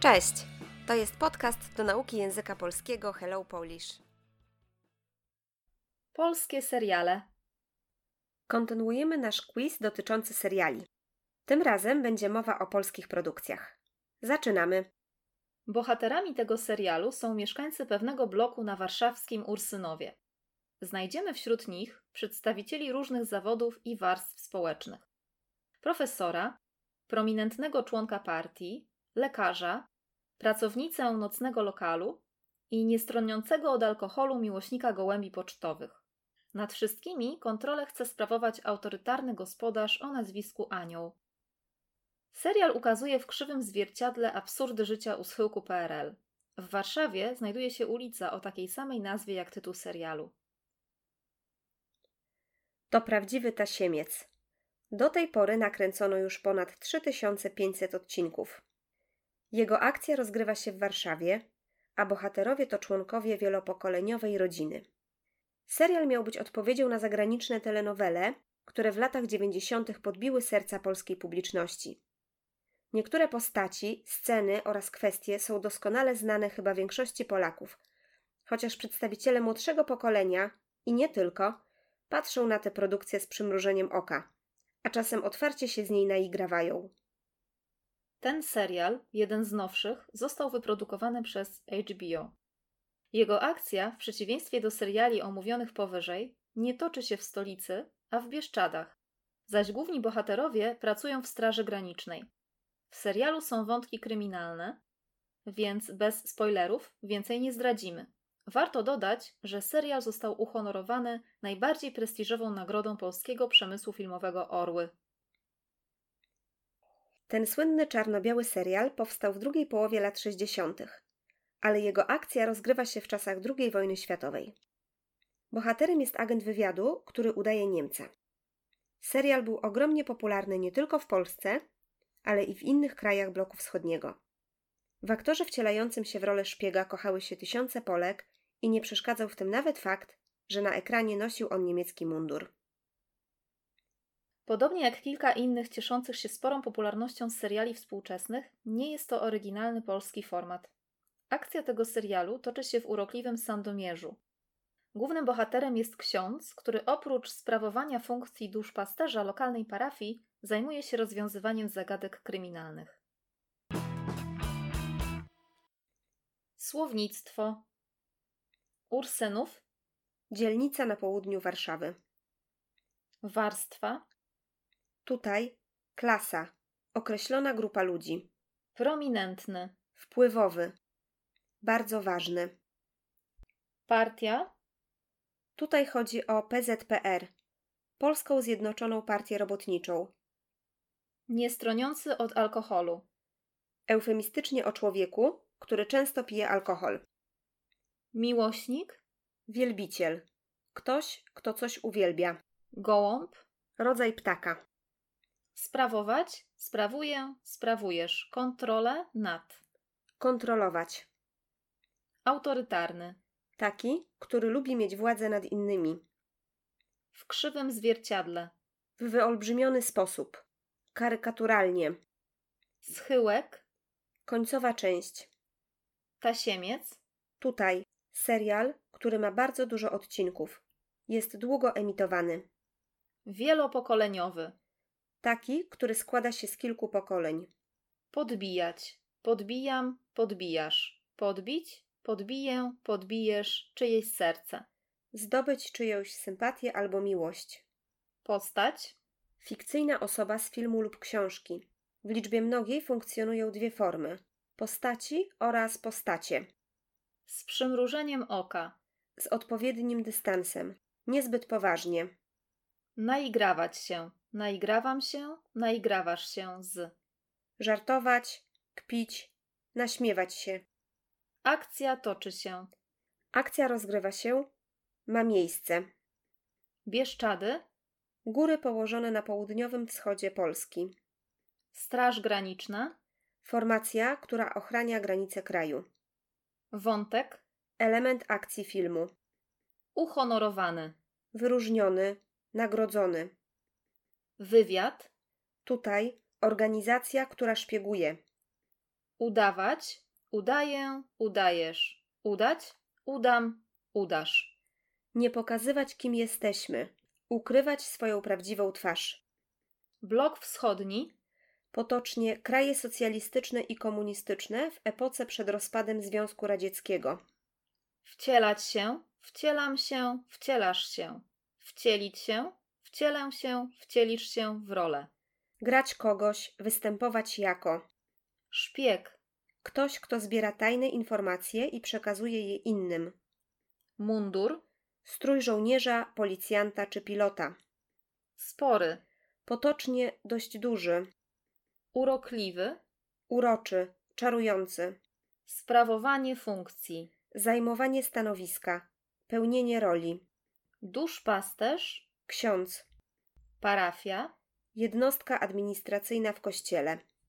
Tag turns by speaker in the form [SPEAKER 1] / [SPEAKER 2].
[SPEAKER 1] Cześć! To jest podcast do nauki języka polskiego Hello Polish. Polskie seriale. Kontynuujemy nasz quiz dotyczący seriali. Tym razem będzie mowa o polskich produkcjach. Zaczynamy.
[SPEAKER 2] Bohaterami tego serialu są mieszkańcy pewnego bloku na warszawskim Ursynowie. Znajdziemy wśród nich przedstawicieli różnych zawodów i warstw społecznych: profesora, prominentnego członka partii, lekarza, pracownicę nocnego lokalu i niestroniącego od alkoholu miłośnika gołębi pocztowych. Nad wszystkimi kontrolę chce sprawować autorytarny gospodarz o nazwisku Anioł. Serial ukazuje w krzywym zwierciadle absurdy życia u schyłku PRL. W Warszawie znajduje się ulica o takiej samej nazwie jak tytuł serialu.
[SPEAKER 1] To prawdziwy tasiemiec. Do tej pory nakręcono już ponad 3500 odcinków. Jego akcja rozgrywa się w Warszawie, a bohaterowie to członkowie wielopokoleniowej rodziny. Serial miał być odpowiedzią na zagraniczne telenowele, które w latach 90. podbiły serca polskiej publiczności. Niektóre postaci, sceny oraz kwestie są doskonale znane chyba większości Polaków, chociaż przedstawiciele młodszego pokolenia i nie tylko patrzą na tę produkcję z przymrużeniem oka, a czasem otwarcie się z niej naigrawają.
[SPEAKER 2] Ten serial, jeden z nowszych, został wyprodukowany przez HBO. Jego akcja, w przeciwieństwie do seriali omówionych powyżej, nie toczy się w stolicy, a w Bieszczadach, zaś główni bohaterowie pracują w Straży Granicznej. W serialu są wątki kryminalne, więc bez spoilerów więcej nie zdradzimy. Warto dodać, że serial został uhonorowany najbardziej prestiżową nagrodą polskiego przemysłu filmowego Orły.
[SPEAKER 1] Ten słynny czarno-biały serial powstał w drugiej połowie lat 60., ale jego akcja rozgrywa się w czasach II wojny światowej. Bohaterem jest agent wywiadu, który udaje Niemca. Serial był ogromnie popularny nie tylko w Polsce, ale i w innych krajach bloku wschodniego. W aktorze wcielającym się w rolę szpiega kochały się tysiące Polek i nie przeszkadzał w tym nawet fakt, że na ekranie nosił on niemiecki mundur.
[SPEAKER 2] Podobnie jak kilka innych cieszących się sporą popularnością seriali współczesnych, nie jest to oryginalny polski format. Akcja tego serialu toczy się w urokliwym Sandomierzu. Głównym bohaterem jest ksiądz, który oprócz sprawowania funkcji duszpasterza lokalnej parafii zajmuje się rozwiązywaniem zagadek kryminalnych. Słownictwo Ursynów,
[SPEAKER 1] Dzielnica na południu Warszawy.
[SPEAKER 2] warstwa,
[SPEAKER 1] Tutaj klasa, określona grupa ludzi,
[SPEAKER 2] prominentny,
[SPEAKER 1] wpływowy, bardzo ważny.
[SPEAKER 2] partia,
[SPEAKER 1] Tutaj chodzi o PZPR, Polską Zjednoczoną Partię Robotniczą,
[SPEAKER 2] niestroniący od alkoholu,
[SPEAKER 1] eufemistycznie o człowieku, który często pije alkohol.
[SPEAKER 2] miłośnik,
[SPEAKER 1] Wielbiciel. Ktoś, kto coś uwielbia.
[SPEAKER 2] gołąb,
[SPEAKER 1] Rodzaj ptaka.
[SPEAKER 2] sprawować, sprawuję, sprawujesz, kontrolę nad,
[SPEAKER 1] Kontrolować.
[SPEAKER 2] autorytarny,
[SPEAKER 1] Taki, który lubi mieć władzę nad innymi.
[SPEAKER 2] w krzywym zwierciadle,
[SPEAKER 1] W wyolbrzymiony sposób. Karykaturalnie.
[SPEAKER 2] schyłek,
[SPEAKER 1] Końcowa część.
[SPEAKER 2] tasiemiec,
[SPEAKER 1] Tutaj serial, który ma bardzo dużo odcinków. Jest długo emitowany.
[SPEAKER 2] wielopokoleniowy,
[SPEAKER 1] Taki, który składa się z kilku pokoleń.
[SPEAKER 2] podbijać, podbijam, podbijasz, podbić, podbiję, podbijesz czyjeś serce,
[SPEAKER 1] Zdobyć czyjąś sympatię albo miłość.
[SPEAKER 2] postać,
[SPEAKER 1] Fikcyjna osoba z filmu lub książki. W liczbie mnogiej funkcjonują dwie formy: postaci oraz postacie,
[SPEAKER 2] z przymrużeniem oka,
[SPEAKER 1] z odpowiednim dystansem, niezbyt poważnie.
[SPEAKER 2] naigrawać się, naigrawam się, naigrawasz się z,
[SPEAKER 1] Żartować, kpić, naśmiewać się.
[SPEAKER 2] akcja toczy się,
[SPEAKER 1] Akcja rozgrywa się, ma miejsce.
[SPEAKER 2] bieszczady,
[SPEAKER 1] Góry położone na południowym wschodzie Polski.
[SPEAKER 2] straż graniczna,
[SPEAKER 1] Formacja, która ochrania granice kraju.
[SPEAKER 2] wątek,
[SPEAKER 1] Element akcji filmu.
[SPEAKER 2] uhonorowany,
[SPEAKER 1] Wyróżniony, nagrodzony.
[SPEAKER 2] wywiad,
[SPEAKER 1] Tutaj organizacja, która szpieguje.
[SPEAKER 2] Udawać, udaję, udajesz. Udać, udam, udasz.
[SPEAKER 1] Nie pokazywać, kim jesteśmy. Ukrywać swoją prawdziwą twarz.
[SPEAKER 2] Blok wschodni
[SPEAKER 1] Potocznie kraje socjalistyczne i komunistyczne w epoce przed rozpadem Związku Radzieckiego.
[SPEAKER 2] Wcielać się, wcielam się, wcielasz się. Wcielić się, wcielę się, wcielisz się w rolę.
[SPEAKER 1] Grać kogoś, występować jako
[SPEAKER 2] Szpieg,
[SPEAKER 1] ktoś, kto zbiera tajne informacje i przekazuje je innym.
[SPEAKER 2] mundur,
[SPEAKER 1] Strój żołnierza, policjanta czy pilota.
[SPEAKER 2] spory,
[SPEAKER 1] Potocznie dość duży,
[SPEAKER 2] urokliwy,
[SPEAKER 1] uroczy, czarujący.
[SPEAKER 2] sprawowanie funkcji.
[SPEAKER 1] Zajmowanie stanowiska, pełnienie roli.
[SPEAKER 2] Duszpasterz,
[SPEAKER 1] Ksiądz,
[SPEAKER 2] parafia,
[SPEAKER 1] jednostka administracyjna w kościele.